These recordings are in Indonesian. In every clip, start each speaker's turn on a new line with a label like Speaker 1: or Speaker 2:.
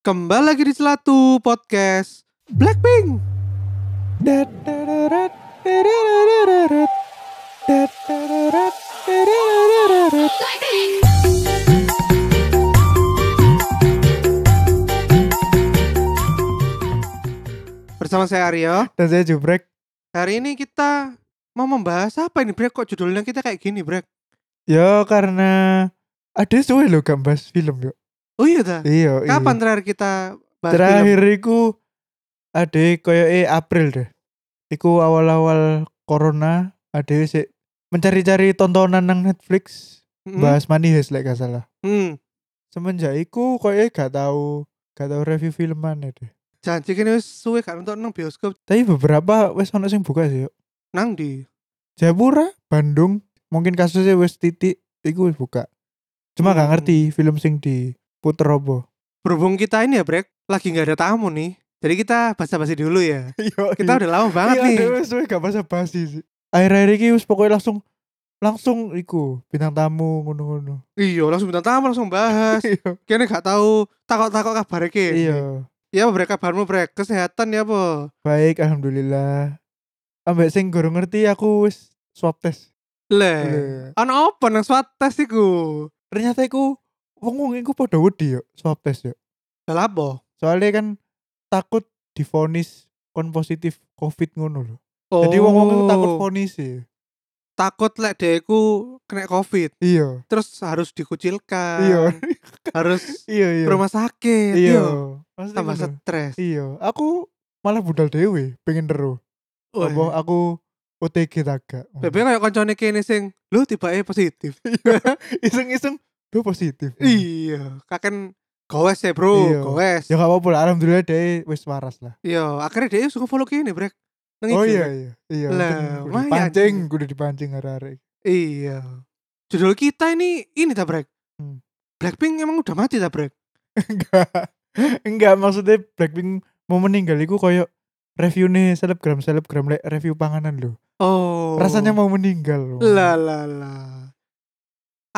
Speaker 1: Kembali lagi di Celatu Podcast Blackpink. Bersama saya Aryo.
Speaker 2: Dan saya jubrek.
Speaker 1: Hari ini kita mau membahas apa ini Brek? Kok judulnya kita kayak gini Brek?
Speaker 2: Yo karena ada suwe lo gak bahas film yuk.
Speaker 1: Oh iya dah.
Speaker 2: Iya. iya.
Speaker 1: Kapan terakhir kita bahas film?
Speaker 2: Terakhir iku ada koyo e April deh. Iku awal-awal corona ada sih mencari-cari tontonan nang Netflix
Speaker 1: Mm-mm.
Speaker 2: bahas Money Heist lek gak salah.
Speaker 1: Hmm.
Speaker 2: Semenjak iku koyo e gak tahu gak tahu review film mana deh.
Speaker 1: Janji kene wis suwe gak nonton nang bioskop
Speaker 2: Tapi beberapa wes ono sing buka sih yuk.
Speaker 1: nang di.
Speaker 2: Jayapura, Bandung, mungkin kasusnya wes titik iku wis buka. Cuma gak
Speaker 1: Hmm.
Speaker 2: ngerti film sing di Puterobo.
Speaker 1: Berhubung kita ini ya Brek lagi nggak ada tamu nih. Jadi kita basa-basi dulu ya. Kita udah lama banget
Speaker 2: Iya,
Speaker 1: nih.
Speaker 2: Dewa suwe gak basa basi sih. Akhir-akhir ini wis pokoknya langsung langsung iku bintang tamu ngono-ngono.
Speaker 1: Iya, langsung bintang tamu langsung bahas.
Speaker 2: Iya.
Speaker 1: Kene gak tahu takok-takok kabar iki.
Speaker 2: Iya.
Speaker 1: Ya apa Brek kabarmu Brek? Kesehatan ya apa?
Speaker 2: Baik, alhamdulillah. Ambek sing guru ngerti aku wis swab test. Eh.
Speaker 1: Le. Ono apa nang swab test iku?
Speaker 2: Ternyata iku wong-wong iku padha wedi yo swab test yo.
Speaker 1: Lah apa?
Speaker 2: Soalnya kan takut difonis kon positif covid ngono lho.
Speaker 1: Oh.
Speaker 2: Jadi wong-wong iku takut vonis ya.
Speaker 1: takut lek deku kena covid
Speaker 2: Iya.
Speaker 1: terus harus dikucilkan
Speaker 2: Iya.
Speaker 1: harus
Speaker 2: Iya, iya.
Speaker 1: ke rumah sakit
Speaker 2: Iya.
Speaker 1: yo.
Speaker 2: Maksudnya
Speaker 1: tambah
Speaker 2: ngono.
Speaker 1: stres
Speaker 2: Iya, aku malah budal dewe pengen deru.
Speaker 1: Wah,
Speaker 2: Apa aku OTG taga.
Speaker 1: Bebe kayak koncone kene sing lu tiba positif.
Speaker 2: Iya. iseng-iseng lu positif.
Speaker 1: iya, kaken gowes ya bro,
Speaker 2: Iya.
Speaker 1: gowes.
Speaker 2: Ya gak apa-apa lah, alhamdulillah deh wis waras lah.
Speaker 1: Iya, akhirnya dia suka follow kene, Brek. Nang
Speaker 2: Oh
Speaker 1: IG,
Speaker 2: iya
Speaker 1: Brek.
Speaker 2: iya. Iya.
Speaker 1: Gitu Lah,
Speaker 2: kudu
Speaker 1: lumayan. gitu.
Speaker 2: dipancing, kudu dipancing hari-hari.
Speaker 1: Iya. Judul kita ini ini ta, Brek.
Speaker 2: Hmm.
Speaker 1: Blackpink emang udah mati ta, Brek?
Speaker 2: Enggak. Enggak maksudnya Blackpink mau meninggal iku koyo review nih selebgram selebgram lek review panganan lho.
Speaker 1: Oh.
Speaker 2: Rasanya mau meninggal. loh.
Speaker 1: lah lah lah.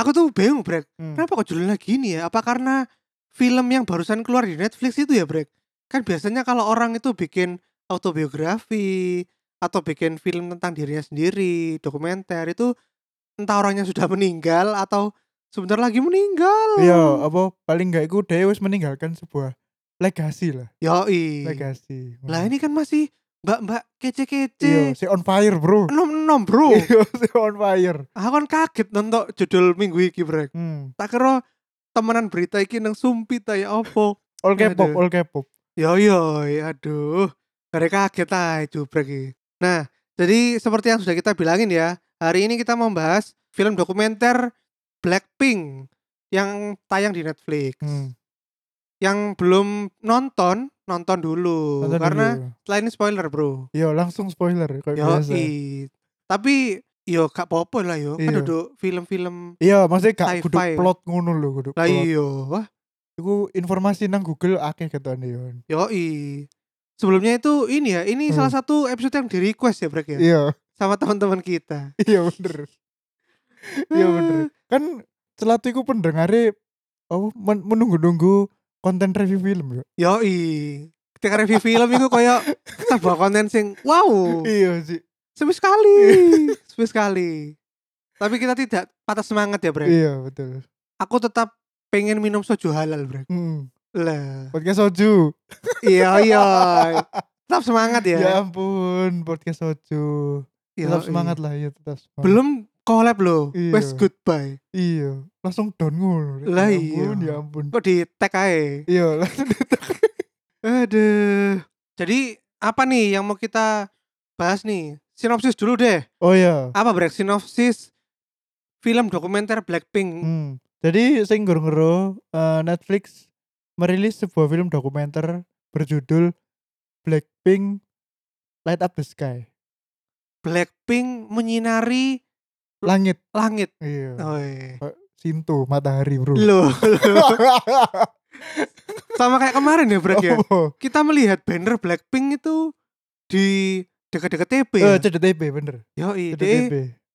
Speaker 1: Aku tuh bingung, Brek.
Speaker 2: Hmm.
Speaker 1: Kenapa kok judulnya gini ya? Apa karena film yang barusan keluar di Netflix itu ya, Brek? Kan biasanya kalau orang itu bikin autobiografi atau bikin film tentang dirinya sendiri, dokumenter itu entah orangnya sudah meninggal atau sebentar lagi meninggal.
Speaker 2: Iya, apa paling enggak iku dhewe wis meninggalkan sebuah legasi lah,
Speaker 1: Yoi.
Speaker 2: legasi.
Speaker 1: Lah ini kan masih mbak-mbak
Speaker 2: Iya,
Speaker 1: kece-kece.
Speaker 2: si on fire, Bro.
Speaker 1: Nom-nom, Bro.
Speaker 2: Iya, si on fire.
Speaker 1: Aku kan kaget nonton judul minggu iki, Brek.
Speaker 2: Hmm.
Speaker 1: Tak kira temenan berita iki nang sumpi ta ya opo.
Speaker 2: All K-pop,
Speaker 1: Aduh.
Speaker 2: all K-pop.
Speaker 1: Yo yo, Ya, aduh, gara kaget lah jubrek iki. Nah, jadi seperti yang sudah kita bilangin ya, hari ini kita membahas film dokumenter Blackpink yang tayang di Netflix.
Speaker 2: Hmm.
Speaker 1: Yang belum nonton, nonton dulu
Speaker 2: Nonton
Speaker 1: karena
Speaker 2: dulu.
Speaker 1: setelah ini spoiler, Bro.
Speaker 2: Yo, langsung spoiler kayak
Speaker 1: Yo,
Speaker 2: biasa.
Speaker 1: tapi yo gak popo lah yo, kan
Speaker 2: Iya.
Speaker 1: duduk film-film
Speaker 2: Iya, maksudnya gak
Speaker 1: Sci-fi.
Speaker 2: kudu plot ngono lho, kudu
Speaker 1: lah iya.
Speaker 2: plot.
Speaker 1: yo. Wah,
Speaker 2: Iku informasi nang Google akeh ketone yo.
Speaker 1: yo Sebelumnya itu ini ya, ini
Speaker 2: Hmm.
Speaker 1: salah satu episode yang di request ya, Brek ya.
Speaker 2: Iya,
Speaker 1: Sama teman-teman kita.
Speaker 2: iya bener. Iya bener.
Speaker 1: Ah.
Speaker 2: Kan celatu iku pendengare apa men- menunggu-nunggu konten review film yo.
Speaker 1: Yoi. Ketika review film itu koyo sebuah konten sing wow,
Speaker 2: Iya sih.
Speaker 1: sepi sekali, sepi sekali. Tapi kita tidak patah semangat ya, Brek.
Speaker 2: Iya, betul.
Speaker 1: Aku tetap pengen minum soju halal, Brek.
Speaker 2: Hmm.
Speaker 1: Lah,
Speaker 2: Podcast soju.
Speaker 1: iya iya. Tetap semangat
Speaker 2: Ya.
Speaker 1: ya.
Speaker 2: ampun, podcast soju. Tetap
Speaker 1: Yoi.
Speaker 2: semangat lah ya, tetap semangat.
Speaker 1: Belum collab loh.
Speaker 2: Iya.
Speaker 1: Wes goodbye.
Speaker 2: Iya, langsung down ngono.
Speaker 1: Lah
Speaker 2: Ya
Speaker 1: iya.
Speaker 2: ampun, Ya ampun.
Speaker 1: Kok di tag ae.
Speaker 2: Iya, langsung ditek.
Speaker 1: Aduh. Jadi apa nih yang mau kita bahas nih? Sinopsis dulu deh.
Speaker 2: Oh iya.
Speaker 1: Apa Brek sinopsis film dokumenter Blackpink
Speaker 2: Hmm. Jadi sing ngero Netflix merilis sebuah film dokumenter berjudul Blackpink Light Up the Sky.
Speaker 1: Blackpink menyinari
Speaker 2: langit
Speaker 1: langit.
Speaker 2: iya
Speaker 1: Oh, iya.
Speaker 2: Sintu matahari bro
Speaker 1: Loh, loh. sama kayak kemarin ya, Brek ya.
Speaker 2: Oh,
Speaker 1: Kita melihat banner Blackpink itu di dekat-dekat TP.
Speaker 2: eh,
Speaker 1: Ya?
Speaker 2: CDTP bener
Speaker 1: Yo, ide
Speaker 2: CDTP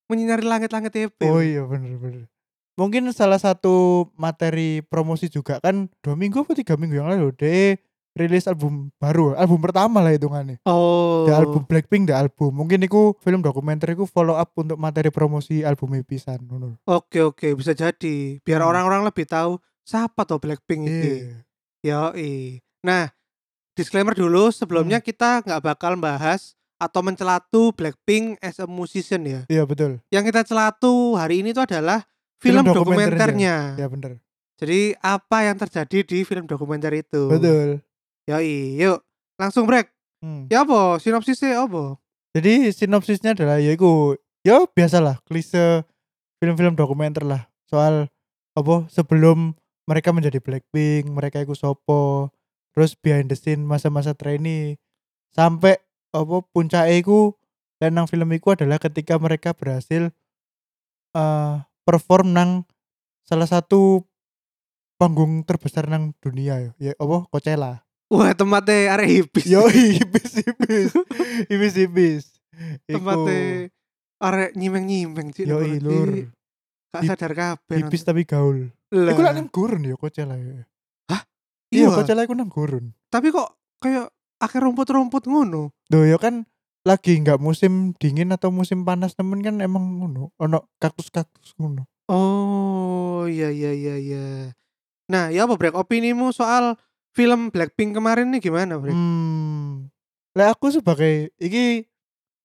Speaker 1: menyinari langit-langit TP.
Speaker 2: oh iya bener bener mungkin salah satu materi promosi juga kan dua minggu apa tiga minggu yang lalu deh rilis album baru album pertama lah hitungannya
Speaker 1: Oh.
Speaker 2: The album Blackpink the album mungkin itu film dokumenter itu follow up untuk materi promosi album pisan ngono.
Speaker 1: Oke, oke, bisa jadi. Biar
Speaker 2: Hmm.
Speaker 1: orang-orang lebih tahu siapa tuh Blackpink itu.
Speaker 2: Iya.
Speaker 1: Yoi. Nah, disclaimer dulu sebelumnya
Speaker 2: Hmm.
Speaker 1: kita nggak bakal bahas atau mencelatu Blackpink as a musician ya.
Speaker 2: Iya betul.
Speaker 1: Yang kita celatu hari ini itu adalah
Speaker 2: Film
Speaker 1: film,
Speaker 2: dokumenternya.
Speaker 1: dokumenternya.
Speaker 2: Iya bener.
Speaker 1: Jadi apa yang terjadi di film dokumenter itu?
Speaker 2: Betul.
Speaker 1: Yoi, yuk langsung break.
Speaker 2: Hmm.
Speaker 1: Ya apa? Sinopsisnya apa?
Speaker 2: Jadi sinopsisnya adalah ya iku ya biasalah klise film-film dokumenter lah soal apa sebelum mereka menjadi Blackpink, mereka iku sopo, terus behind the scene masa-masa trainee sampai apa puncak iku dan nang film iku adalah ketika mereka berhasil eh, perform nang salah satu panggung terbesar nang dunia ya, ya apa Coachella.
Speaker 1: Wah, tempatnya arek hipis.
Speaker 2: Yo ibis ibis ibis ibis.
Speaker 1: tempatnya arek nyimeng-nyimeng sih.
Speaker 2: Yo
Speaker 1: menurut
Speaker 2: lur.
Speaker 1: iki. Gak
Speaker 2: Hip-
Speaker 1: sadar kabeh.
Speaker 2: Ibis tapi gaul.
Speaker 1: Lah,
Speaker 2: Iku lak nang gurun ya Coachella ya.
Speaker 1: iya,
Speaker 2: Iya Coachella iku nang gurun.
Speaker 1: tapi kok kayak akhir rumput-rumput ngono.
Speaker 2: Loh ya kan lagi nggak musim dingin atau musim panas temen kan emang ngono ono kaktus-kaktus ngono.
Speaker 1: Oh, iya iya iya iya. Nah, ya apa Brek opinimu soal film Blackpink kemarin nih gimana, Brek?
Speaker 2: Hmm. Lah aku sebagai iki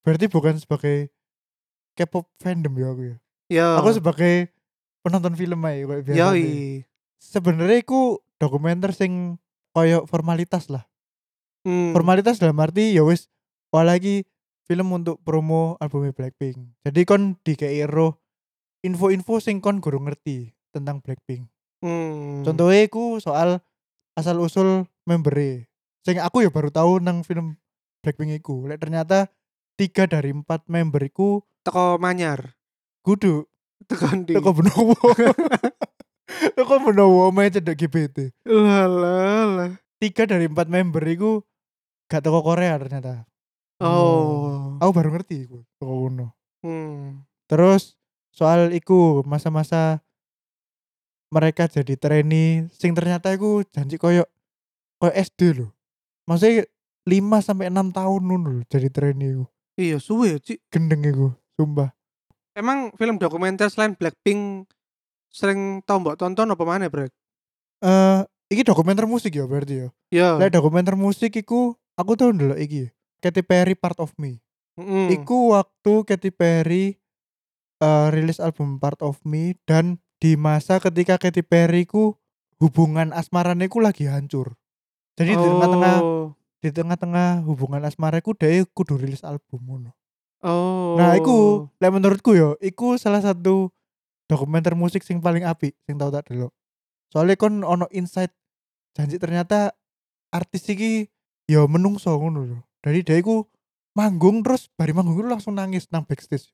Speaker 2: berarti bukan sebagai K-pop fandom ya aku ya.
Speaker 1: Ya.
Speaker 2: Aku sebagai penonton film aja kayak biasa.
Speaker 1: Yoi.
Speaker 2: Sebenarnya iku dokumenter sing koyo formalitas lah.
Speaker 1: Hmm.
Speaker 2: formalitas dalam arti ya wis wah lagi film untuk promo albumnya Blackpink jadi kon di KIRO info-info sing kon gurung ngerti tentang Blackpink
Speaker 1: Hmm.
Speaker 2: contohnya ku soal asal usul member sing aku ya baru tahu nang film Blackpink iku lek ternyata tiga dari empat memberiku
Speaker 1: teko manyar.
Speaker 2: kudu
Speaker 1: Teko ndi?
Speaker 2: teko benowo teko benowo main cedek GBT
Speaker 1: Lalalah.
Speaker 2: tiga dari empat member iku gak teko Korea ternyata
Speaker 1: Oh.
Speaker 2: aku baru ngerti iku teko kono
Speaker 1: Hmm.
Speaker 2: Terus soal iku masa-masa mereka jadi trainee sing ternyata iku janji koyo koyo SD loh. Maksudnya 5 sampai 6 tahun nun lho jadi trainee iku.
Speaker 1: Iya, suwe, Ci.
Speaker 2: Gendeng iku, sumpah.
Speaker 1: Emang film dokumenter selain Blackpink sering tau mbok tonton apa mana, Brek?
Speaker 2: Eh iki dokumenter musik ya berarti ya.
Speaker 1: Ya.
Speaker 2: Lah dokumenter musik iku aku tuh dulu iki. ya, Katy Perry Part of Me.
Speaker 1: Mm-mm.
Speaker 2: Iku waktu Katy Perry eh, rilis album Part of Me dan di masa ketika Katy Perry ku hubungan asmarane ku lagi hancur. Jadi di tengah-tengah
Speaker 1: Oh.
Speaker 2: di tengah-tengah hubungan asmara ku dhewe kudu rilis album ngono.
Speaker 1: Oh.
Speaker 2: Nah, iku lek menurutku yo, iku salah satu dokumenter musik sing paling apik sing tau tak delok. Soalnya kon ono insight janji ternyata artis iki yo menungso ngono lho. Dari dhewe ku manggung terus bari manggung ku langsung nangis nang backstage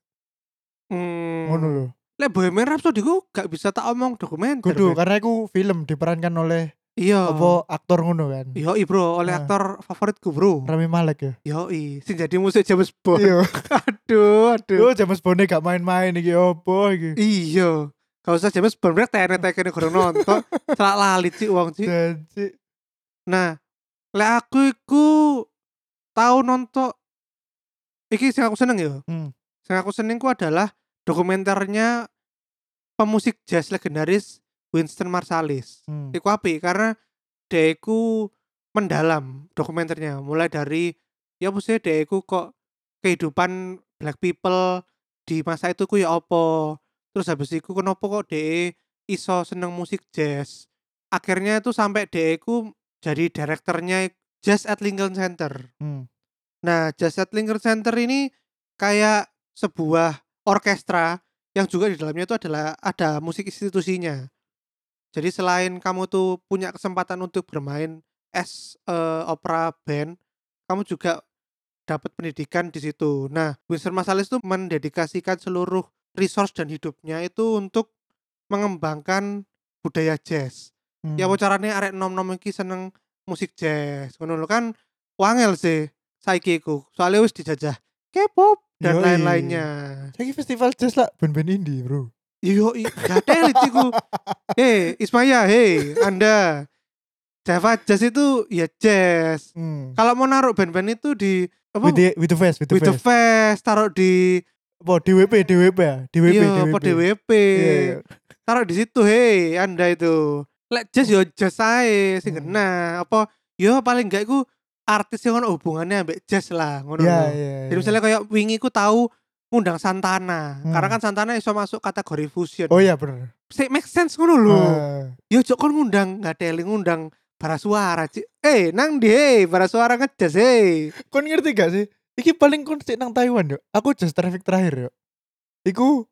Speaker 1: Hmm.
Speaker 2: ngono lho.
Speaker 1: Lek Bohemian Rhapsody ku gak bisa tak omong dokumenter.
Speaker 2: Kudu
Speaker 1: Brek.
Speaker 2: karena iku film diperankan oleh
Speaker 1: Iya.
Speaker 2: apa aktor ngono kan.
Speaker 1: Yoi bro, oleh
Speaker 2: Nah.
Speaker 1: aktor favoritku bro.
Speaker 2: Rami Malek ya.
Speaker 1: Yoi, sing jadi musik James Bond.
Speaker 2: Iya.
Speaker 1: aduh, aduh.
Speaker 2: Yo James Bond gak main-main iki opo iki.
Speaker 1: Iya. Gak usah James Bond brek tenet kene kurang nonton. Celak lali cik wong cik.
Speaker 2: Janji.
Speaker 1: Nah, lek aku iku tau nonton iki sing aku seneng ya.
Speaker 2: Hmm.
Speaker 1: Sing aku seneng ku adalah dokumenternya pemusik jazz legendaris Winston Marsalis.
Speaker 2: Hmm.
Speaker 1: Iku apik karena deku mendalam dokumenternya mulai dari ya maksudnya deku kok kehidupan black people di masa itu ku ya opo terus habis itu kenapa kok de iso seneng musik jazz akhirnya itu sampai deku jadi direkturnya Jazz at Lincoln Center
Speaker 2: Hmm.
Speaker 1: nah Jazz at Lincoln Center ini kayak sebuah orkestra yang juga di dalamnya itu adalah ada musik institusinya jadi selain kamu tuh punya kesempatan untuk bermain as eh, opera band, kamu juga dapat pendidikan di situ. Nah, Winston Marsalis tuh mendedikasikan seluruh resource dan hidupnya itu untuk mengembangkan budaya jazz.
Speaker 2: Hmm.
Speaker 1: Ya apa carane arek nom-nom iki seneng musik jazz. Ngono lho kan wangel sih saiki iku. Soale wis dijajah K-pop dan
Speaker 2: Yoi.
Speaker 1: lain-lainnya.
Speaker 2: Saiki festival jazz lah band-band indie, Bro.
Speaker 1: Yo, gatel iku. Hei, Ismaya, hei, Anda. Java Jazz itu ya jazz.
Speaker 2: Hmm.
Speaker 1: Kalau mau naruh band-band itu di apa?
Speaker 2: With the, with the face, with the
Speaker 1: With the
Speaker 2: face.
Speaker 1: Fest, taruh di
Speaker 2: Apa DWP, DWP ya? DWP,
Speaker 1: iya, apa, DWP.
Speaker 2: Iya, iya.
Speaker 1: Taruh di situ, hei, Anda itu. Lek jazz yo jazz ae sing
Speaker 2: Hmm.
Speaker 1: kena. Apa yo paling enggak iku artis yang ono hubungannya ambek jazz lah, ngono.
Speaker 2: Iya,
Speaker 1: lho.
Speaker 2: iya.
Speaker 1: Jadi misalnya kayak wingi ku tahu ngundang Santana.
Speaker 2: Hmm.
Speaker 1: Karena kan Santana iso masuk kategori fusion.
Speaker 2: Oh iya bener.
Speaker 1: Sik make sense ngono lho.
Speaker 2: Ah.
Speaker 1: Yo cok kon ngundang nggak teli ngundang para suara cik. Eh nang di hey, para suara ngejas hey.
Speaker 2: Kon ngerti gak sih? Iki paling kon sik nang Taiwan yo. Aku just traffic terakhir yo. Iku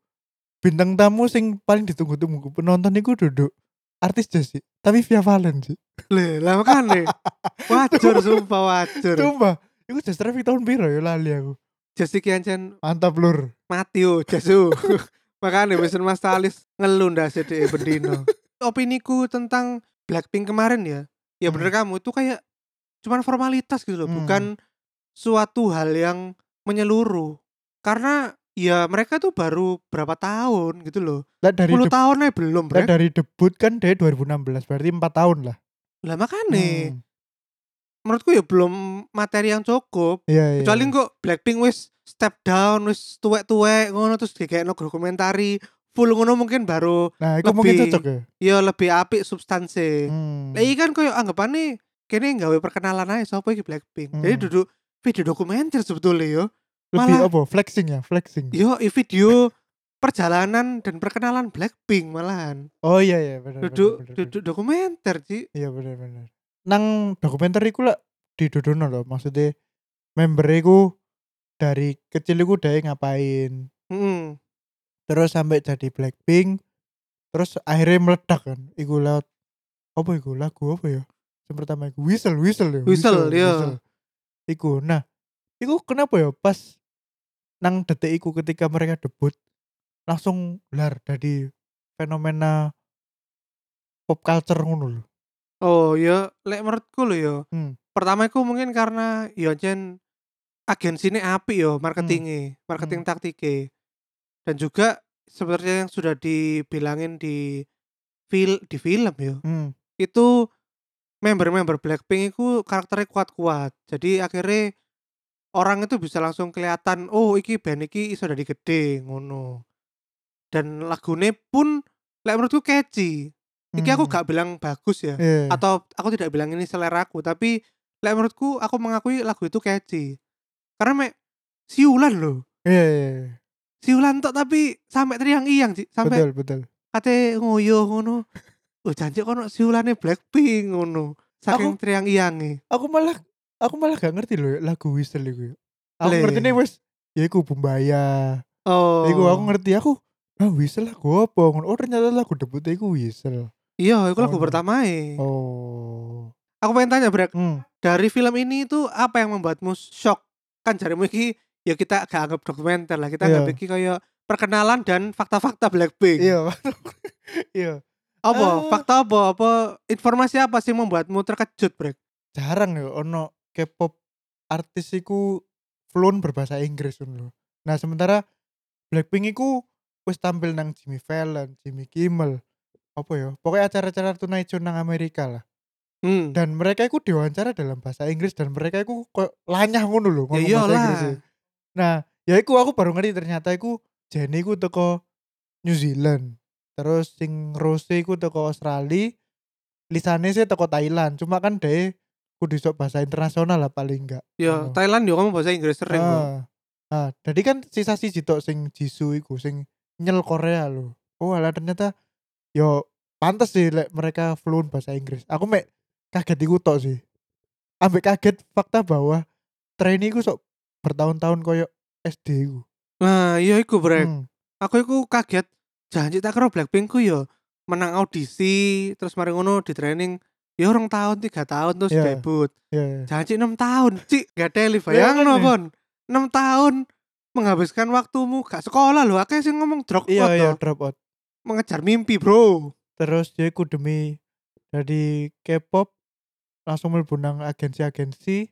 Speaker 2: bintang tamu sing paling ditunggu-tunggu penonton iku duduk artis jazz sih, tapi Via Valen sih.
Speaker 1: Le, lah makane. Wajur sumpah wajur.
Speaker 2: Coba, iku just traffic tahun piro yo lali aku.
Speaker 1: Jas iki ancen
Speaker 2: Mantap lur.
Speaker 1: mati
Speaker 2: oh,
Speaker 1: yo jasu. makane wis Mas Talis ngelun dah sedek bendino. Opiniku tentang Blackpink kemarin ya. Ya bener kamu itu kayak cuman formalitas gitu loh,
Speaker 2: Hmm.
Speaker 1: bukan suatu hal yang menyeluruh. Karena ya mereka tuh baru berapa tahun gitu loh.
Speaker 2: Lah dari
Speaker 1: 10
Speaker 2: debut,
Speaker 1: tahun aja belum,
Speaker 2: lah
Speaker 1: Brek.
Speaker 2: dari debut kan dari 2016, berarti 4 tahun lah.
Speaker 1: Lah makane.
Speaker 2: Hmm.
Speaker 1: menurutku ya belum materi yang cukup.
Speaker 2: Iya, iya.
Speaker 1: Kecuali kok Blackpink wis step down, wis tuwek-tuwek ngono terus dikekno grup komentari full ngono mungkin baru
Speaker 2: Nah, iku mungkin
Speaker 1: lebih-
Speaker 2: cocok ya.
Speaker 1: ya lebih apik substansi.
Speaker 2: Hmm.
Speaker 1: Lah iki kan koyo anggapane kene nggawe perkenalan aja sapa iki Blackpink. Jadi
Speaker 2: Hmm.
Speaker 1: duduk video dokumenter sebetulnya yo.
Speaker 2: Lebih
Speaker 1: malah-
Speaker 2: apa? Flexing ya, flexing.
Speaker 1: Yo i video perjalanan dan perkenalan Blackpink malahan.
Speaker 2: Oh iya iya benar.
Speaker 1: Duduk
Speaker 2: benar, benar, benar.
Speaker 1: duduk dokumenter, Ci.
Speaker 2: Iya benar benar. Nang dokumenter iku lah didudono lho maksudnya member iku dari kecil iku dhewe ngapain
Speaker 1: Heeh.
Speaker 2: terus sampai jadi Blackpink terus akhirnya meledak kan iku lewat apa iku lagu apa ya yang pertama iku whistle whistle ya
Speaker 1: Whistle, iya.
Speaker 2: iku nah iku kenapa ya pas nang detik iku ketika mereka debut langsung lar dari fenomena pop culture ngono lho
Speaker 1: Oh ya, lek menurutku lho yo.
Speaker 2: Hmm.
Speaker 1: Pertama iku mungkin karena yo jen agensinya api yo marketingnya,
Speaker 2: Hmm.
Speaker 1: marketing taktiknya. Dan juga sebenarnya yang sudah dibilangin di fil di film yo.
Speaker 2: Hmm.
Speaker 1: Itu member-member Blackpink itu karakternya kuat-kuat. Jadi akhirnya orang itu bisa langsung kelihatan, oh iki band iki iso dari gede ngono. Dan lagune pun lek menurutku catchy. Iki aku
Speaker 2: Hmm.
Speaker 1: gak bilang bagus ya
Speaker 2: Iya.
Speaker 1: atau aku tidak bilang ini seleraku tapi lek menurutku aku mengakui lagu itu catchy karena mek siulan loh
Speaker 2: Iya, iya, iya.
Speaker 1: siulan tok tapi sampai teriang iyang Ci. sampai
Speaker 2: betul, betul.
Speaker 1: kate ngoyo ngono oh janji kono siulannya Blackpink ngono saking
Speaker 2: Aku-
Speaker 1: teriang iyange
Speaker 2: Aku malah aku malah gak ngerti loh lagu Whistle iku. ya. Aku
Speaker 1: Le.
Speaker 2: ngerti nih wes ya iku Bumbaya.
Speaker 1: oh
Speaker 2: Iku aku ngerti aku ah Whistle lagu apa? Ngono. Oh ternyata lagu debut iku Whistle.
Speaker 1: iya itu lagu
Speaker 2: Oh.
Speaker 1: pertama e.
Speaker 2: Oh.
Speaker 1: aku pengen tanya Brek
Speaker 2: Hmm.
Speaker 1: dari film ini itu apa yang membuatmu shock kan jarimu iki ya kita gak anggap dokumenter lah kita
Speaker 2: Iya.
Speaker 1: anggap iki kayak perkenalan dan fakta-fakta Blackpink
Speaker 2: Iya. Iya.
Speaker 1: Apa?
Speaker 2: Eh.
Speaker 1: Fakta apa? Apa informasi apa sih membuatmu terkejut, Brek?
Speaker 2: Jarang ya ono K-pop artis iku fluent berbahasa Inggris ngono. lho. Nah, sementara Blackpink iku wis tampil nang Jimmy Fallon, Jimmy Kimmel, apa ya? Pokoknya acara-acara tunai nang Amerika lah.
Speaker 1: Hmm.
Speaker 2: dan mereka itu diwawancara dalam bahasa Inggris dan mereka itu koyo lanyah ngono lho ngomong
Speaker 1: Ya
Speaker 2: bahasa
Speaker 1: iyalah.
Speaker 2: Inggris. Nah, ya iku aku baru ngerti ternyata iku Jenny iku teko New Zealand. Terus sing Rose iku teko Australia. Lisane sih teko Thailand, cuma kan deh kudu sok bahasa internasional lah paling enggak.
Speaker 1: Ya,
Speaker 2: Oh.
Speaker 1: Thailand yo ngomong bahasa Inggris sering. kok.
Speaker 2: Ah. Ah, jadi kan sisa siji tok sing Jisoo iku sing nyel Korea lho. Oh, alah ternyata yo pantes sih lek mereka fluent bahasa Inggris. Aku mek kaget iku tok sih. Ambek kaget fakta bahwa trainee iku sok bertahun-tahun koyo SD iku.
Speaker 1: Nah, iya iku, Brek.
Speaker 2: Hmm.
Speaker 1: Aku iku kaget. Janji tak karo Blackpink ku yo menang audisi, terus mari ngono di training ya orang tahun tiga tahun terus
Speaker 2: Iya.
Speaker 1: debut.
Speaker 2: Ya, ya.
Speaker 1: Janji enam tahun, Cik. Gak teli
Speaker 2: Iya kan,
Speaker 1: bayangno,
Speaker 2: ya?
Speaker 1: Bon. 6 tahun menghabiskan waktumu gak sekolah loh akeh sing ngomong drop
Speaker 2: iya
Speaker 1: out
Speaker 2: iya
Speaker 1: loh.
Speaker 2: drop out
Speaker 1: mengejar mimpi bro
Speaker 2: terus ya iku demi dari K-pop langsung mlebu nang agensi-agensi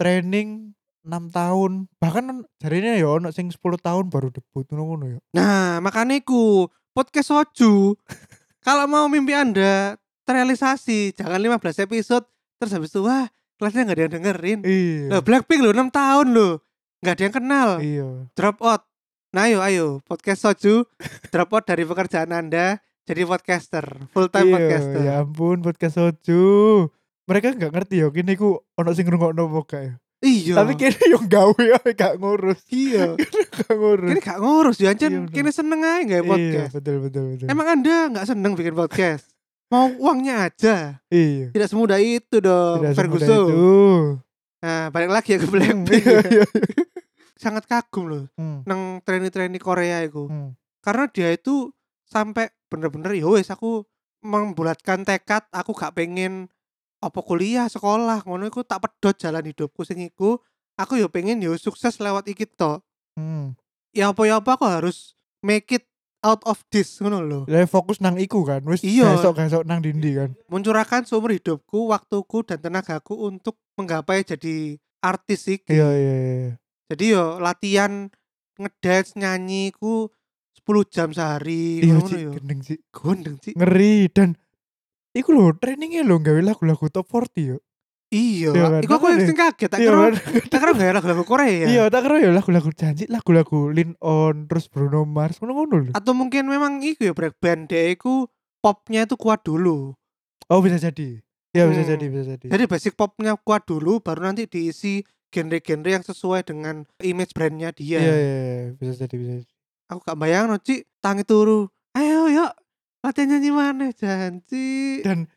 Speaker 2: training 6 tahun bahkan jarinya ya ono sing 10 tahun baru debut ngono ya
Speaker 1: nah makanya iku podcast soju kalau mau mimpi anda terrealisasi jangan 15 episode terus habis itu wah kelasnya nggak ada yang dengerin
Speaker 2: iya
Speaker 1: Lah, Blackpink Hmm. loh 6 tahun loh nggak ada yang kenal
Speaker 2: iya
Speaker 1: drop out nah ayo ayo podcast soju drop out dari pekerjaan anda jadi podcaster full time
Speaker 2: Iya,
Speaker 1: podcaster
Speaker 2: ya ampun podcast soju mereka nggak ngerti ya kini ku ono sing ngrungokno apa gak ya
Speaker 1: iya
Speaker 2: tapi kini yo gawe ae gak ngurus
Speaker 1: iya
Speaker 2: gak ngurus
Speaker 1: kini gak ngurus ya
Speaker 2: Iya,
Speaker 1: Ancen
Speaker 2: bener.
Speaker 1: kini seneng aja nggak ya
Speaker 2: iya
Speaker 1: podcast
Speaker 2: betul betul betul
Speaker 1: emang anda nggak seneng bikin podcast mau uangnya aja
Speaker 2: iya
Speaker 1: tidak semudah itu dong
Speaker 2: tidak semudah
Speaker 1: eh, Ferguson
Speaker 2: itu
Speaker 1: nah balik lagi ya ke Blackpink
Speaker 2: Iya, iya, iya.
Speaker 1: sangat kagum loh
Speaker 2: Hmm,
Speaker 1: nang trainee-trainee Korea itu
Speaker 2: hmm.
Speaker 1: karena dia itu sampai bener-bener ya wes aku membulatkan tekad aku gak pengen apa kuliah sekolah ngono iku tak pedot jalan hidupku sing iku aku yo pengen yo sukses lewat iki to
Speaker 2: hmm.
Speaker 1: ya apa ya apa aku harus make it out of this ngono lho
Speaker 2: Lah fokus nang iku kan, wis
Speaker 1: Iya.
Speaker 2: gesok-gesok nang dindi kan.
Speaker 1: mencurahkan seumur hidupku waktuku dan tenagaku untuk menggapai jadi artis iki
Speaker 2: Iya iya iya.
Speaker 1: jadi yo latihan ngedance nyanyi ku 10 jam sehari
Speaker 2: Iya
Speaker 1: ngono
Speaker 2: sih,
Speaker 1: yo
Speaker 2: gendeng sih.
Speaker 1: gondeng sih
Speaker 2: Ngeri dan iku lho trainingnya lho gawe lagu-lagu top 40 yo.
Speaker 1: iya
Speaker 2: Iya kan,
Speaker 1: iku aku yang
Speaker 2: makanya.
Speaker 1: sing kaget tak
Speaker 2: Iya
Speaker 1: kira
Speaker 2: kan?
Speaker 1: tak kira gak lagu lagu Korea
Speaker 2: Iya, tak kira ya lagu-lagu janji, lagu-lagu Lean On terus Bruno Mars ngono-ngono lho.
Speaker 1: atau mungkin memang iku ya break band dia iku popnya itu kuat dulu
Speaker 2: Oh, bisa jadi. Iya, bisa
Speaker 1: Hmm.
Speaker 2: jadi, bisa jadi.
Speaker 1: jadi basic popnya kuat dulu baru nanti diisi genre-genre yang sesuai dengan image brandnya dia
Speaker 2: Iya, iya, iya, bisa jadi, bisa jadi.
Speaker 1: aku gak bayang no cik tangi turu ayo yuk latihan nyanyi mana janji
Speaker 2: Dan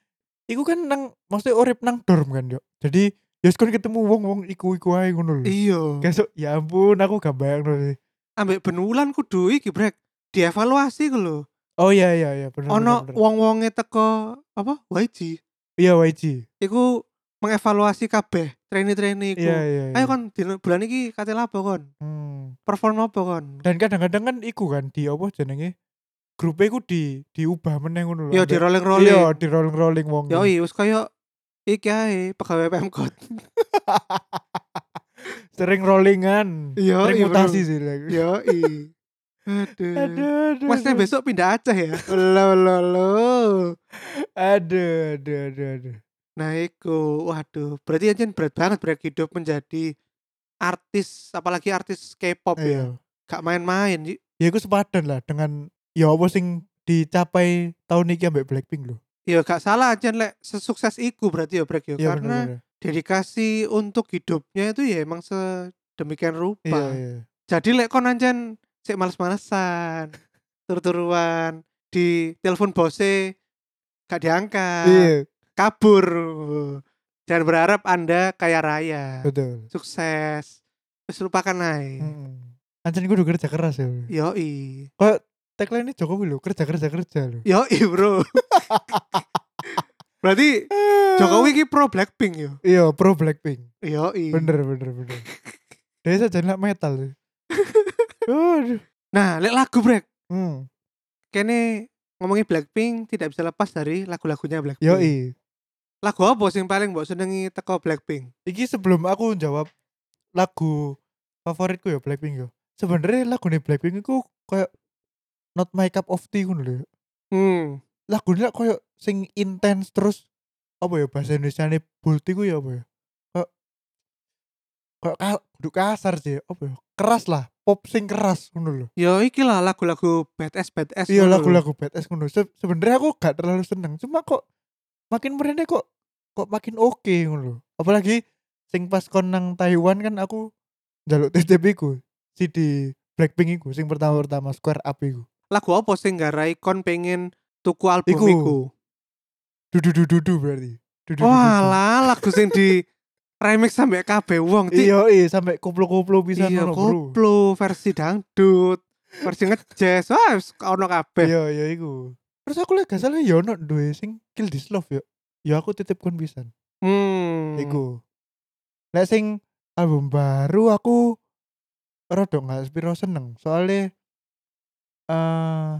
Speaker 2: iku kan nang maksudnya urip nang dorm kan yo. Jadi ya wis kon ketemu wong-wong iku-iku ae ngono lho.
Speaker 1: iyo
Speaker 2: Gesok ya ampun aku gak bayangno sih.
Speaker 1: Iya. ambek benulan kudu iki brek dievaluasi ku lho
Speaker 2: Oh iya iya iya bener.
Speaker 1: ono
Speaker 2: bener, bener.
Speaker 1: wong-wonge teko apa YG
Speaker 2: Iya YG.
Speaker 1: iku mengevaluasi kabeh trainee-trainee iku
Speaker 2: Iya iya. iya.
Speaker 1: Gitu. ayo kon dino- bulan iki kate lapo kon
Speaker 2: Hmm.
Speaker 1: perform apa kon
Speaker 2: Dan kadang-kadang kan iku kan di apa jenenge grupnya iku di diubah meneh ngono lho.
Speaker 1: yo di
Speaker 2: Ambek-
Speaker 1: rolling
Speaker 2: Iya,
Speaker 1: rolling
Speaker 2: di rolling rolling wong.
Speaker 1: yo wis koyo iki ae pegawai Pemkot
Speaker 2: Sering rollingan.
Speaker 1: yo
Speaker 2: Sering mutasi sih. Iya.
Speaker 1: yo i aduh
Speaker 2: Aduh, aduh.
Speaker 1: Masnya
Speaker 2: aduh.
Speaker 1: besok pindah Aceh ya? Lo lo lo.
Speaker 2: Aduh, aduh, aduh, aduh.
Speaker 1: Nah, iku. Waduh, berarti aja berat banget berat hidup menjadi artis, apalagi artis K-pop
Speaker 2: Iya.
Speaker 1: ya. Gak main-main, Ji.
Speaker 2: Ya iku sepadan lah dengan ya apa sing dicapai tahun ini ambek Blackpink lho.
Speaker 1: Ya gak salah aja lek sesukses iku berarti ya Brek ya.
Speaker 2: Iya
Speaker 1: Karena
Speaker 2: bener. bener.
Speaker 1: dedikasi untuk hidupnya itu ya emang sedemikian rupa.
Speaker 2: Iya, iya.
Speaker 1: Jadi lek kon anjen sik males-malesan, turu-turuan, di telepon bose gak diangkat,
Speaker 2: Iya,
Speaker 1: kabur. Jangan berharap Anda kaya raya,
Speaker 2: betul.
Speaker 1: sukses. Terus lupakan ae.
Speaker 2: Mm-mm. Hmm. Anjen gue udah kerja keras ya.
Speaker 1: Yoi.
Speaker 2: Tagline ini Jokowi lho, kerja kerja kerja lho.
Speaker 1: Yoi, Bro. Berarti Jokowi ki pro Blackpink yo.
Speaker 2: Iya, pro Blackpink.
Speaker 1: Hmm. Yoi.
Speaker 2: Bener bener bener. Dia saja nak metal sih. Aduh.
Speaker 1: Nah, lek lagu Brek
Speaker 2: Hmm.
Speaker 1: kene ngomongi Blackpink tidak bisa lepas dari lagu-lagunya Blackpink.
Speaker 2: Yoi.
Speaker 1: Lagu apa sing paling mbok senengi teko Blackpink?
Speaker 2: Iki sebelum aku jawab lagu favoritku ya Blackpink yo. Sebenarnya lagu nih Blackpink itu kayak Not My Cup of Tea ngono lho.
Speaker 1: Hmm.
Speaker 2: Lagunya kayak sing intense terus apa ya bahasa Indonesia nih bulti ku ya apa ya? Kayak kayak ka- kudu kasar sih apa ya? Keras lah, pop sing keras ngono lho.
Speaker 1: Yo iki lah lagu-lagu BTS BTS.
Speaker 2: iya
Speaker 1: ngono lho.
Speaker 2: lagu-lagu BTS ngono Se- sebenarnya aku gak terlalu seneng cuma kok makin merene kok kok makin oke ngono lho. apalagi sing pas kon nang Taiwan kan aku njaluk TTP ku si di Blackpink iku sing pertama-pertama Square Up iku
Speaker 1: Lagu apa sing garai kon pengen tuku album
Speaker 2: Iku.
Speaker 1: iku?
Speaker 2: dudu dudu dudu berarti dudu
Speaker 1: Walah, lagu sing di remix sampe kabeh wong. Cik.
Speaker 2: iya iya sampai koplo-koplo bisa
Speaker 1: Iya,
Speaker 2: ngono bro
Speaker 1: koplo versi dangdut, versi ngejazz. Wah, wis ono kabeh.
Speaker 2: iya iya iku terus aku lagi gak salah ya ono duwe sing Kill This Love yo ya aku titip kon pisan
Speaker 1: Hmm.
Speaker 2: Iku. Lek sing album baru aku rada nggak piro seneng soalnya eh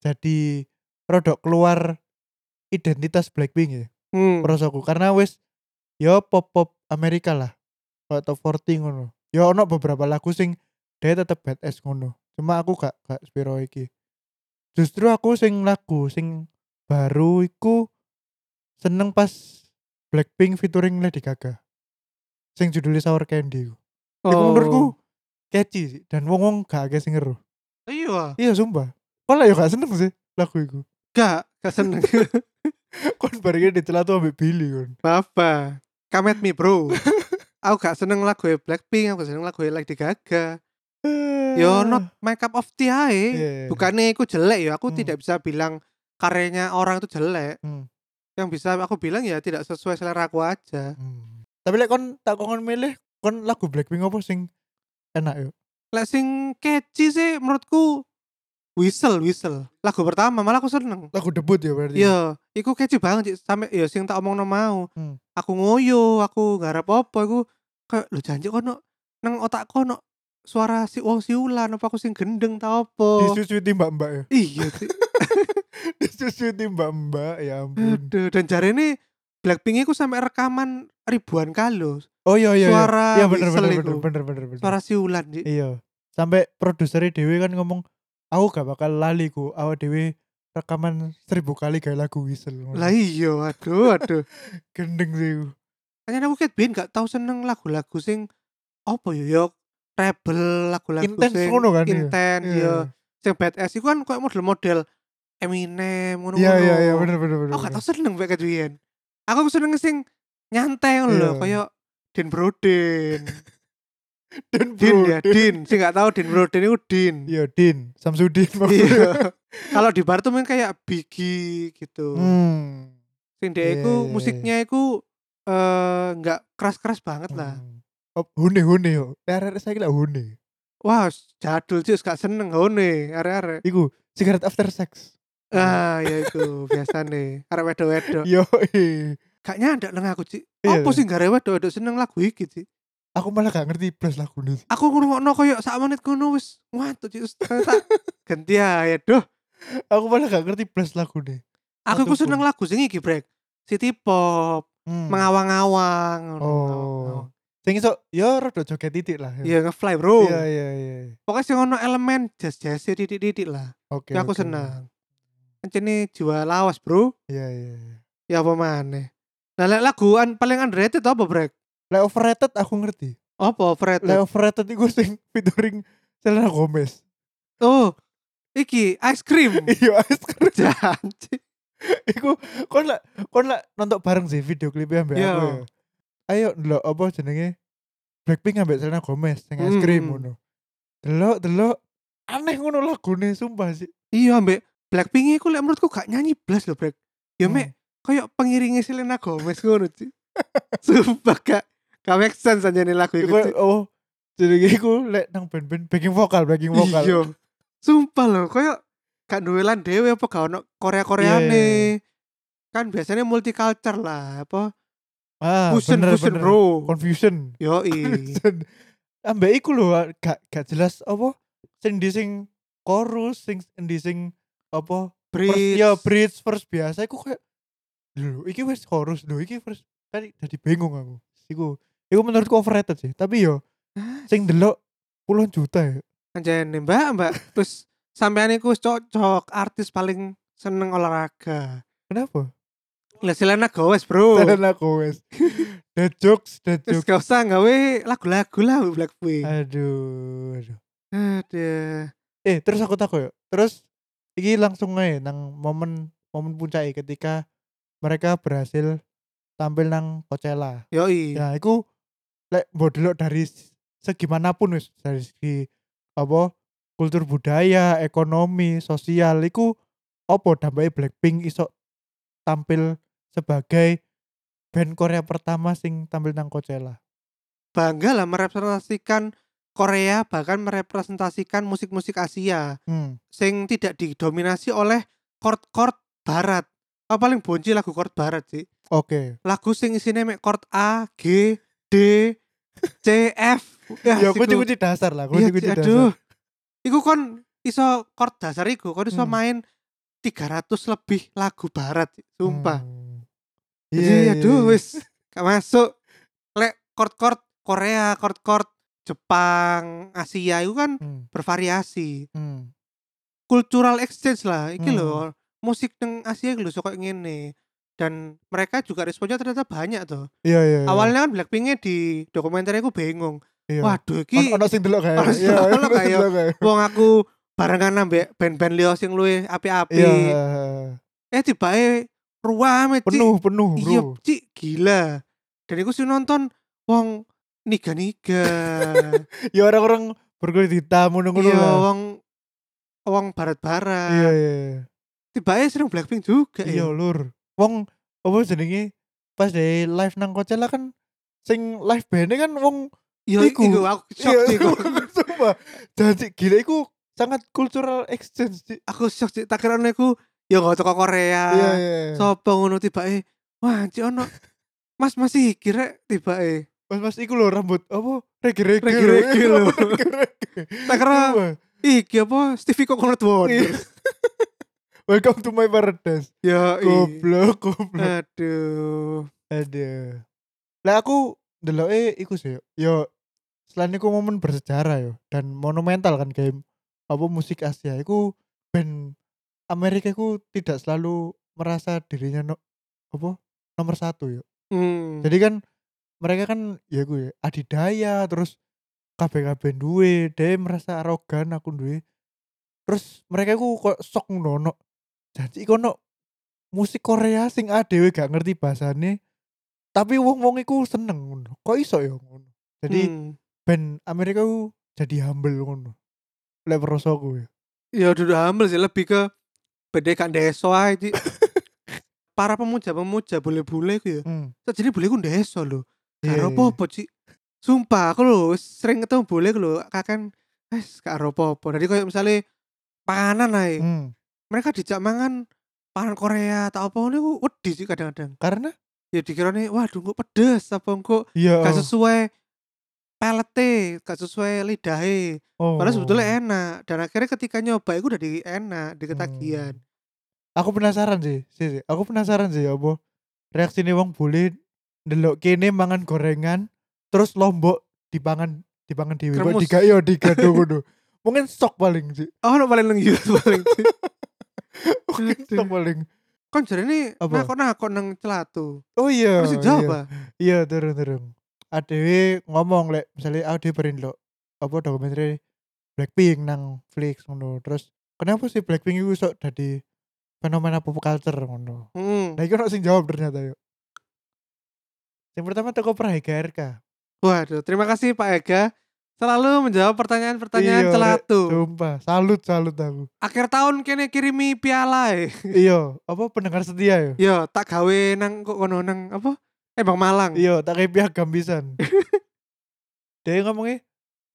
Speaker 2: jadi rada keluar identitas Blackpink ya
Speaker 1: Hmm.
Speaker 2: merasaku karena wis yo pop pop Amerika lah kayak top 40 ngono yo ono beberapa lagu sing dia tetep badass ngono cuma aku gak gak spiro iki justru aku sing lagu sing baru iku seneng pas Blackpink featuring Lady Gaga sing judulnya Sour Candy iku Iku
Speaker 1: Oh.
Speaker 2: menurutku catchy sih. dan wong wong gak akeh sing ngeru
Speaker 1: Iya.
Speaker 2: iya sumpah kok lah yo gak seneng sih lagu iku
Speaker 1: Gak, gak seneng.
Speaker 2: kon barengnya dicela tuh ambek Billy kon
Speaker 1: Apa? Come at me, Bro. aku gak seneng lagu Blackpink, aku gak seneng lagu Lady Gaga.
Speaker 2: Iya.
Speaker 1: Yo not my cup of tea ae.
Speaker 2: Yeah.
Speaker 1: Bukannya aku jelek ya, aku
Speaker 2: Hmm.
Speaker 1: tidak bisa bilang karyanya orang itu jelek.
Speaker 2: Hmm.
Speaker 1: Yang bisa aku bilang ya tidak sesuai selera aku aja.
Speaker 2: Hmm. Tapi lek kon tak kon milih kon lagu Blackpink apa sing enak yo?
Speaker 1: Lek sing catchy sih menurutku Whistle, Whistle. Lagu pertama malah aku seneng.
Speaker 2: Lagu debut ya berarti.
Speaker 1: Iya, iku catchy banget Cik. sampe ya sing tak omongno mau.
Speaker 2: Hmm.
Speaker 1: Aku ngoyo, aku garap apa iku kayak lu janji kono nang otakku ono suara si wong siulan apa aku sing gendeng ta apa.
Speaker 2: Disusuti mbak-mbak ya.
Speaker 1: Iya sih.
Speaker 2: Disusuti mbak-mbak ya ampun.
Speaker 1: Aduh, dan jari ini Blackpink iku sampe rekaman ribuan kali loh.
Speaker 2: Oh iya iya. iya.
Speaker 1: Suara
Speaker 2: iya bener
Speaker 1: whistle
Speaker 2: bener
Speaker 1: itu.
Speaker 2: bener, bener bener bener.
Speaker 1: Suara siulan Cik.
Speaker 2: Iya. Sampai produsernya Dewi kan ngomong aku gak bakal lali ku awak Dewi rekaman seribu kali kayak lagu whistle
Speaker 1: Lah iya, aduh aduh.
Speaker 2: gendeng sih ku.
Speaker 1: Hanya aku ket biyen gak tau seneng lagu-lagu sing apa ya yo rebel lagu-lagu
Speaker 2: Intense
Speaker 1: sing
Speaker 2: ngono kan, iya.
Speaker 1: intense
Speaker 2: Iya.
Speaker 1: yo. Sing badass iku kan kayak model-model Eminem ngono-ngono.
Speaker 2: Iya iya iya bener bener bener.
Speaker 1: Aku gak
Speaker 2: bener.
Speaker 1: tau seneng kayak kejuian. Aku seneng sing nyantai ngono lho
Speaker 2: Iya.
Speaker 1: kayak Din Broden.
Speaker 2: Din
Speaker 1: Din
Speaker 2: bro.
Speaker 1: ya, Din. Sing gak tau Din Broden iku Din.
Speaker 2: Iya Din, Samsudin maksudnya.
Speaker 1: Iya. Kalau di bar tuh main kayak Biggie gitu.
Speaker 2: Hmm.
Speaker 1: Sing dia iku
Speaker 2: Iya.
Speaker 1: musiknya iku eh nggak keras-keras banget lah.
Speaker 2: Hmm. Oh, hune hune yo. Arek saya kira hune.
Speaker 1: Wah, jadul sih gak seneng ngone arek-arek.
Speaker 2: Iku cigarette after sex.
Speaker 1: Ah, ya itu biasa nih. Arek wedo-wedo.
Speaker 2: Yo, eh.
Speaker 1: Kayaknya ndak nang aku, Cik.
Speaker 2: Iya.
Speaker 1: Apa sih gak arek wedo-wedo seneng lagu iki, Cik?
Speaker 2: aku malah gak ngerti plus lagu ini.
Speaker 1: Aku ngrungokno koyo sak menit ngono wis ngantuk, Cik. Wis, ternyata ganti ya, doh.
Speaker 2: Aku malah gak ngerti plus lagu ini.
Speaker 1: Aku ku
Speaker 2: Aduh,
Speaker 1: seneng
Speaker 2: Bu.
Speaker 1: lagu sing iki, Brek. City pop,
Speaker 2: Hmm.
Speaker 1: mengawang-awang. ngono,
Speaker 2: Oh.
Speaker 1: mengawang-awang.
Speaker 2: Sing iso yo rada joget titik lah.
Speaker 1: Iya, nge-fly, Bro.
Speaker 2: Iya, iya, iya.
Speaker 1: Pokoknya sing ono elemen jazz-jazz titik-titik lah.
Speaker 2: Oke.
Speaker 1: Ya, aku
Speaker 2: oke.
Speaker 1: seneng. Encene jiwa lawas, Bro.
Speaker 2: Iya, iya. iya.
Speaker 1: Ya apa maneh. Nah, lek lagu an- paling underrated apa, Brek?
Speaker 2: Lek overrated aku ngerti.
Speaker 1: Apa overrated?
Speaker 2: Lek overrated iku sing featuring Selena Gomez.
Speaker 1: Oh, iki ice cream.
Speaker 2: Iya, ice cream.
Speaker 1: Janji.
Speaker 2: Iku kon lak kon lak nonton bareng sih video klipnya ambek
Speaker 1: Iya.
Speaker 2: aku. ya. Ayo ndelok apa jenenge? Blackpink ambek Selena Gomez sing es
Speaker 1: Mm.
Speaker 2: krim ngono. Delok delok aneh ngono lagune sumpah sih.
Speaker 1: Iya, ambek Blackpink iku lek menurutku gak nyanyi blas lho, Brek. Ya
Speaker 2: Hmm.
Speaker 1: mek koyo pengiringnya Selena Gomez ngono, Ci. Sumpah gak gak make sense aja nih lagu
Speaker 2: Iku
Speaker 1: itu. Ci.
Speaker 2: oh jenenge iku lek nang band-band backing vokal, backing vokal.
Speaker 1: Iya. Sumpah lho, koyo gak duelan dhewe apa gak ono
Speaker 2: Iya,
Speaker 1: Korea-Koreane. Kan biasanya multicultural lah, apa?
Speaker 2: Ah,
Speaker 1: fusion
Speaker 2: bener,
Speaker 1: fusion,
Speaker 2: bener.
Speaker 1: Bro. Iya.
Speaker 2: Confusion.
Speaker 1: Yo
Speaker 2: Confusion. Ambek iku lho gak gak jelas apa sing di sing chorus, sing di sing apa First- ya bridge first biasa aku kayak lho iki wis chorus lho iki first kan jadi bingung aku iku iku menurutku overrated sih tapi yo sing delok puluhan juta ya
Speaker 1: Anjane Mbak, Mbak. Terus sampean iku cocok artis paling seneng olahraga.
Speaker 2: kenapa
Speaker 1: Lah Selena Gomez, Bro.
Speaker 2: dan aku wes the jokes
Speaker 1: Oh.
Speaker 2: the
Speaker 1: Terus gak
Speaker 2: jokes
Speaker 1: usah gawe lagu-lagu lah Blackpink.
Speaker 2: aduh, aduh.
Speaker 1: Aduh.
Speaker 2: eh terus aku takut yo terus iki langsung aja nang momen momen puncak e ketika mereka berhasil tampil nang Coachella
Speaker 1: Yoi.
Speaker 2: ya iku lek mbok delok dari s- segimanapun wis dari segi apa kultur budaya ekonomi sosial iku apa dampaknya Blackpink iso tampil sebagai band Korea pertama sing tampil nang Coachella
Speaker 1: Bangga lah merepresentasikan Korea bahkan merepresentasikan musik-musik Asia
Speaker 2: hmm.
Speaker 1: sing tidak didominasi oleh chord-chord barat. Aku paling bonci lagu chord barat sih.
Speaker 2: oke
Speaker 1: Lagu sing isine mek chord A, G, D, C, F. Ya,
Speaker 2: ya
Speaker 1: iku-
Speaker 2: kunci-kunci dasar lah
Speaker 1: Iya,
Speaker 2: kunci-kunci
Speaker 1: aduh.
Speaker 2: dasar Hmm.
Speaker 1: Iku kon iso chord dasar iku, kon iso
Speaker 2: Hmm.
Speaker 1: main 300 lebih lagu barat, sumpah.
Speaker 2: Hmm.
Speaker 1: Jadi
Speaker 2: Iya, iya,
Speaker 1: aduh
Speaker 2: iya.
Speaker 1: wis gak masuk. Lek chord-chord Korea, chord-chord Jepang, Asia itu kan
Speaker 2: Hmm,
Speaker 1: bervariasi.
Speaker 2: hmm.
Speaker 1: Cultural exchange lah iki
Speaker 2: Hmm.
Speaker 1: lho. Musik neng Asia iki lho suka ngene. Dan mereka juga responnya ternyata banyak tuh.
Speaker 2: iya iya iya.
Speaker 1: Awalnya kan Blackpinknya di dokumenter aku bingung.
Speaker 2: iya.
Speaker 1: Waduh
Speaker 2: On-
Speaker 1: iki
Speaker 2: ono sing delok kae Iya,
Speaker 1: Ono sing delok
Speaker 2: ono sing
Speaker 1: kae.
Speaker 2: delok kae.
Speaker 1: wong aku barengan nambah band-band liya sing luwe api-api.
Speaker 2: iya
Speaker 1: Eh tiba ruame Cik.
Speaker 2: penuh penuh bro
Speaker 1: Iya, cik gila. Dan aku sih nonton wong niga-niga.
Speaker 2: ya orang-orang berkulit hitam ngono-ngono
Speaker 1: iya,
Speaker 2: lah.
Speaker 1: wong wong
Speaker 2: iya
Speaker 1: barat-barat.
Speaker 2: iya
Speaker 1: Tiba-tiba sering Blackpink juga ya.
Speaker 2: iya lur wong apa jenenge pas dari live nang Coachella kan sing live bandnya kan wong
Speaker 1: Iya,
Speaker 2: Iku.
Speaker 1: iku aku shock
Speaker 2: Iya,
Speaker 1: sih, iku.
Speaker 2: sumpah jadi gila iku sangat cultural exchange Cik.
Speaker 1: Aku shock sih, tak kira aku ya gak toko Korea.
Speaker 2: iya iya
Speaker 1: Sopo ngono tiba-tiba wah cik ono Mas masih kira tiba-tiba
Speaker 2: mas mas iku lho rambut apa rege-rege
Speaker 1: Rege-rege lho.
Speaker 2: Rambut rege-rege.
Speaker 1: Tak kira
Speaker 2: Sumpah.
Speaker 1: iki apa Stevie Coconut Water.
Speaker 2: Iya. welcome to my paradise
Speaker 1: Ya, iya.
Speaker 2: goblok goblok
Speaker 1: Aduh.
Speaker 2: Ada. Lah aku ndelok iku sih. Yo selain iku momen bersejarah yo dan monumental kan game apa musik Asia iku band Amerika iku tidak selalu merasa dirinya no, apa nomor satu yo.
Speaker 1: Hmm.
Speaker 2: Jadi kan mereka kan ya gue adidaya terus KBKB duwe, dia merasa arogan aku duwe. Terus mereka iku kok sok ngono. no. Jadi iku ono musik Korea sing adewe gak ngerti bahasane tapi wong-wong iku seneng ngono. Kok iso ya ngono. Jadi
Speaker 1: Hmm.
Speaker 2: band Amerika ku jadi humble ngono. Lek rasa gue.
Speaker 1: Ya duduk humble sih lebih ke pendekak deso ae Ci. Para pemuja-pemuja bule-bule ku ya.
Speaker 2: Hmm.
Speaker 1: So, jadi bule ku deso lho.
Speaker 2: Iya,
Speaker 1: Karo apa Ci? Sumpah aku lho wis sering ketemu bule ku lho kakan wis karo apa-apa. Jadi kayak misalnya panganan ae.
Speaker 2: iya. Hmm.
Speaker 1: Mereka dijak mangan pangan Korea atau apa niku wedi sih kadang-kadang.
Speaker 2: Karena
Speaker 1: Ya dikira nih waduh kok pedes apa kok
Speaker 2: iya.
Speaker 1: gak sesuai pelete, gak sesuai lidahe.
Speaker 2: oh.
Speaker 1: Padahal sebetulnya enak dan akhirnya ketika nyoba itu udah di enak, di ketagihan.
Speaker 2: Hmm. Aku penasaran sih, sih, sih. Aku penasaran sih ya apa reaksi nih wong bule ndelok kene mangan gorengan terus lombok dipangan dipangan dewe kok
Speaker 1: Kremus.
Speaker 2: diga yo diga ngono. Mungkin sok Hmm. paling sih.
Speaker 1: Oh, no, paling nang YouTube paling.
Speaker 2: Mungkin
Speaker 1: Aduh.
Speaker 2: sok paling.
Speaker 1: kan jadi ini
Speaker 2: Apa?
Speaker 1: nakok nakok nang celatu.
Speaker 2: Oh iya.
Speaker 1: Terus
Speaker 2: iya.
Speaker 1: dijawab.
Speaker 2: Iya turun turun. Adewe ngomong lek misalnya adewe perin lo apa dokumenter Blackpink nang Flix ngono. Terus kenapa sih Blackpink itu sok jadi fenomena pop culture ngono.
Speaker 1: Heeh.
Speaker 2: Nah itu orang sing jawab ternyata yuk. Yang pertama toko Prahiga RK.
Speaker 1: Waduh, terima kasih Pak Ega selalu menjawab pertanyaan-pertanyaan
Speaker 2: Iya,
Speaker 1: celatu.
Speaker 2: Sumpah, salut salut aku.
Speaker 1: Akhir tahun kene kirimi piala eh.
Speaker 2: iya, apa pendengar setia yo.
Speaker 1: Yo, tak gawe nang kok kono nang apa? Eh Bang Malang.
Speaker 2: Iya, tak kayak piagam pisan. Dia ngomongnya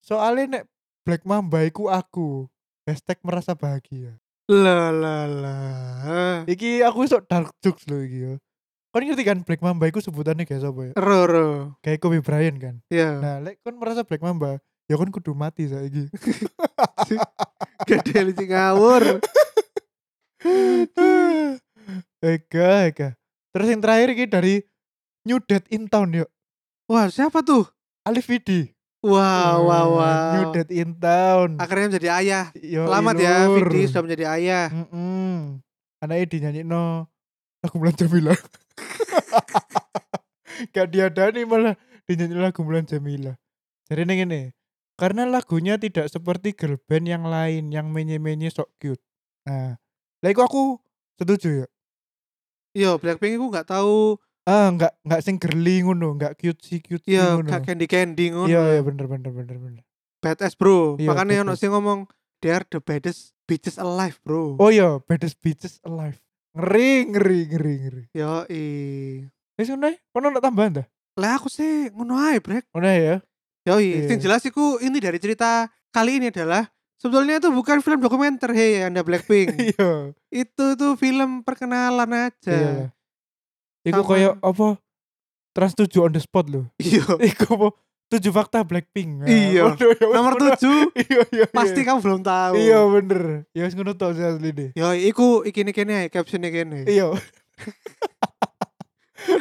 Speaker 2: soalnya nek Black Mamba iku aku. Hashtag merasa bahagia.
Speaker 1: Lah lah lah.
Speaker 2: Iki aku sok dark jokes loh iki yo. Kon ngerti kan Black Mamba iku sebutannya kayak sapa ya?
Speaker 1: Ro ro.
Speaker 2: Kayak Kobe Bryant kan.
Speaker 1: Ya,
Speaker 2: Nah, lek kon merasa Black Mamba, ya kon kudu mati saiki.
Speaker 1: gede licik ngawur.
Speaker 2: Ega, ega. Terus yang terakhir iki dari New Dead in Town yuk.
Speaker 1: Wah, siapa tuh?
Speaker 2: Alif Vidi.
Speaker 1: Wah, wah, wah.
Speaker 2: New Dead in Town.
Speaker 1: Akhirnya menjadi ayah.
Speaker 2: Yo,
Speaker 1: Ah, Selamat ya
Speaker 2: ilur.
Speaker 1: Vidi sudah menjadi ayah.
Speaker 2: Mm-mm. Anaknya dinyanyi no lagu Mulan Jamila. Gak diadani malah dinyanyi lagu Mulan Jamila. Jadi ini gini, karena lagunya tidak seperti girl band yang lain yang menye-menye sok cute. Nah, lah iku aku setuju ya.
Speaker 1: Yo Blackpink aku nggak tahu.
Speaker 2: Ah, nggak nggak sing girly ngono, nggak cute si cute
Speaker 1: Yo
Speaker 2: ngono.
Speaker 1: gak candy candy Iya, ngono. ya.
Speaker 2: Iya, iya bener bener bener bener.
Speaker 1: Badass bro.
Speaker 2: Iya,
Speaker 1: Makanya ono
Speaker 2: badass.
Speaker 1: sing ngomong they are the baddest bitches alive bro.
Speaker 2: Oh iya, baddest bitches alive. Ngeri ngeri ngeri ngeri.
Speaker 1: Yo i.
Speaker 2: Wis ngono ae? Kono nak tambahan dah?
Speaker 1: Lah aku sih ngono ae brek.
Speaker 2: Ngono ae ya.
Speaker 1: Yo i.
Speaker 2: Iya.
Speaker 1: Sing jelas iku ini dari cerita kali ini adalah sebetulnya itu bukan film dokumenter hei anda Blackpink.
Speaker 2: Iya.
Speaker 1: itu tuh film perkenalan aja.
Speaker 2: Iya. Iku
Speaker 1: Sama-
Speaker 2: koyo apa? Trans 7 on the spot lho.
Speaker 1: Yo.
Speaker 2: Iku apa? tujuh fakta Blackpink.
Speaker 1: Iya.
Speaker 2: Waduh, ya wis
Speaker 1: Nomor
Speaker 2: ngono.
Speaker 1: 7
Speaker 2: Iya, iya.
Speaker 1: pasti
Speaker 2: iya.
Speaker 1: kamu belum tahu.
Speaker 2: Iya, bener. Ya wis ngono tok sih asli deh.
Speaker 1: Yo, iku iki kene caption kene.
Speaker 2: Iya.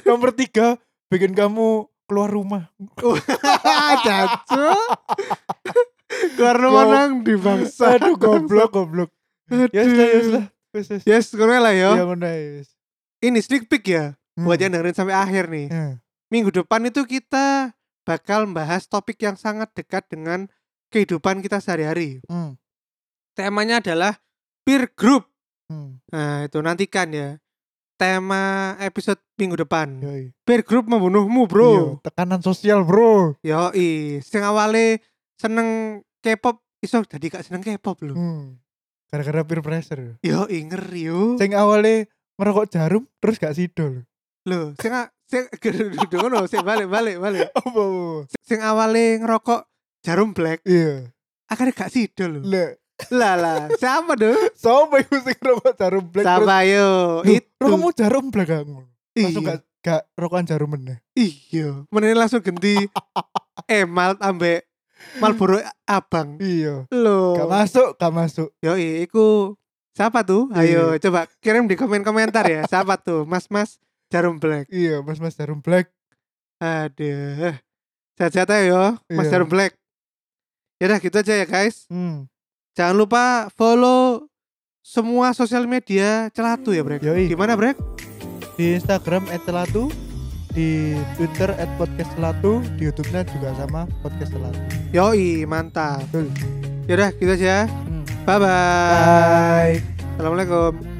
Speaker 2: Nomor tiga bikin kamu keluar rumah.
Speaker 1: Cacu. Keluar nomor
Speaker 2: Go-
Speaker 1: nang di bangsa.
Speaker 2: Aduh goblok goblok. Ya sudah, ya sudah. Wis wis.
Speaker 1: Yes, keren lah yo.
Speaker 2: Ya bener ya, wis.
Speaker 1: Ini sneak peek ya
Speaker 2: Hmm.
Speaker 1: buat yang dengerin sampai akhir nih.
Speaker 2: Hmm.
Speaker 1: Minggu depan itu kita bakal bahas topik yang sangat dekat dengan kehidupan kita sehari-hari.
Speaker 2: Hmm.
Speaker 1: Temanya adalah peer group.
Speaker 2: Hmm.
Speaker 1: Nah, itu nantikan ya. Tema episode minggu depan.
Speaker 2: Yoi.
Speaker 1: Peer group membunuhmu,
Speaker 2: Iya,
Speaker 1: Bro.
Speaker 2: tekanan sosial, Bro.
Speaker 1: Yoi, sing awale seneng K-pop iso dadi gak seneng K-pop lho.
Speaker 2: Hmm. Gara-gara peer pressure.
Speaker 1: Yoi, ngeri yo.
Speaker 2: Sing awalnya ngerokok jarum terus gak sidol.
Speaker 1: Lho, sing a- sing duduk ngono, sing balik-balik balik.
Speaker 2: Apa, Apa? apa?
Speaker 1: Sing awale ngerokok jarum black,
Speaker 2: Iya.
Speaker 1: akhirnya gak sido lho.
Speaker 2: Lah,
Speaker 1: Lah lah, siapa dong?
Speaker 2: sampai gue sing ngerokok jarum black terus
Speaker 1: Siapa yo?
Speaker 2: Duh,
Speaker 1: Itu.
Speaker 2: kamu jarum black kamu. Langsung
Speaker 1: Iya.
Speaker 2: gak gak rokokan jarum meneh.
Speaker 1: Iya, menene langsung ganti emal ambek Marlboro abang.
Speaker 2: Iya.
Speaker 1: Lho.
Speaker 2: Gak masuk, gak masuk.
Speaker 1: Yoi, iku siapa tuh? Ayo
Speaker 2: Iya.
Speaker 1: coba kirim di komen komentar ya. Siapa tuh? Mas-mas jarum black.
Speaker 2: Iya, Mas Mas jarum black.
Speaker 1: Aduh. Sehat-sehat aja yo, Mas
Speaker 2: Iya.
Speaker 1: Jarum Black. Ya udah gitu aja ya guys.
Speaker 2: Hmm.
Speaker 1: Jangan lupa follow semua sosial media Celatu ya, Brek.
Speaker 2: Yoi.
Speaker 1: Gimana, Brek?
Speaker 2: Di Instagram @celatu, di Twitter @podcastcelatu, di YouTube-nya juga sama podcast celatu.
Speaker 1: Yoi, mantap.
Speaker 2: Betul.
Speaker 1: Ya udah gitu aja.
Speaker 2: Hmm.
Speaker 1: Bye-bye.
Speaker 2: Bye.
Speaker 1: Assalamualaikum.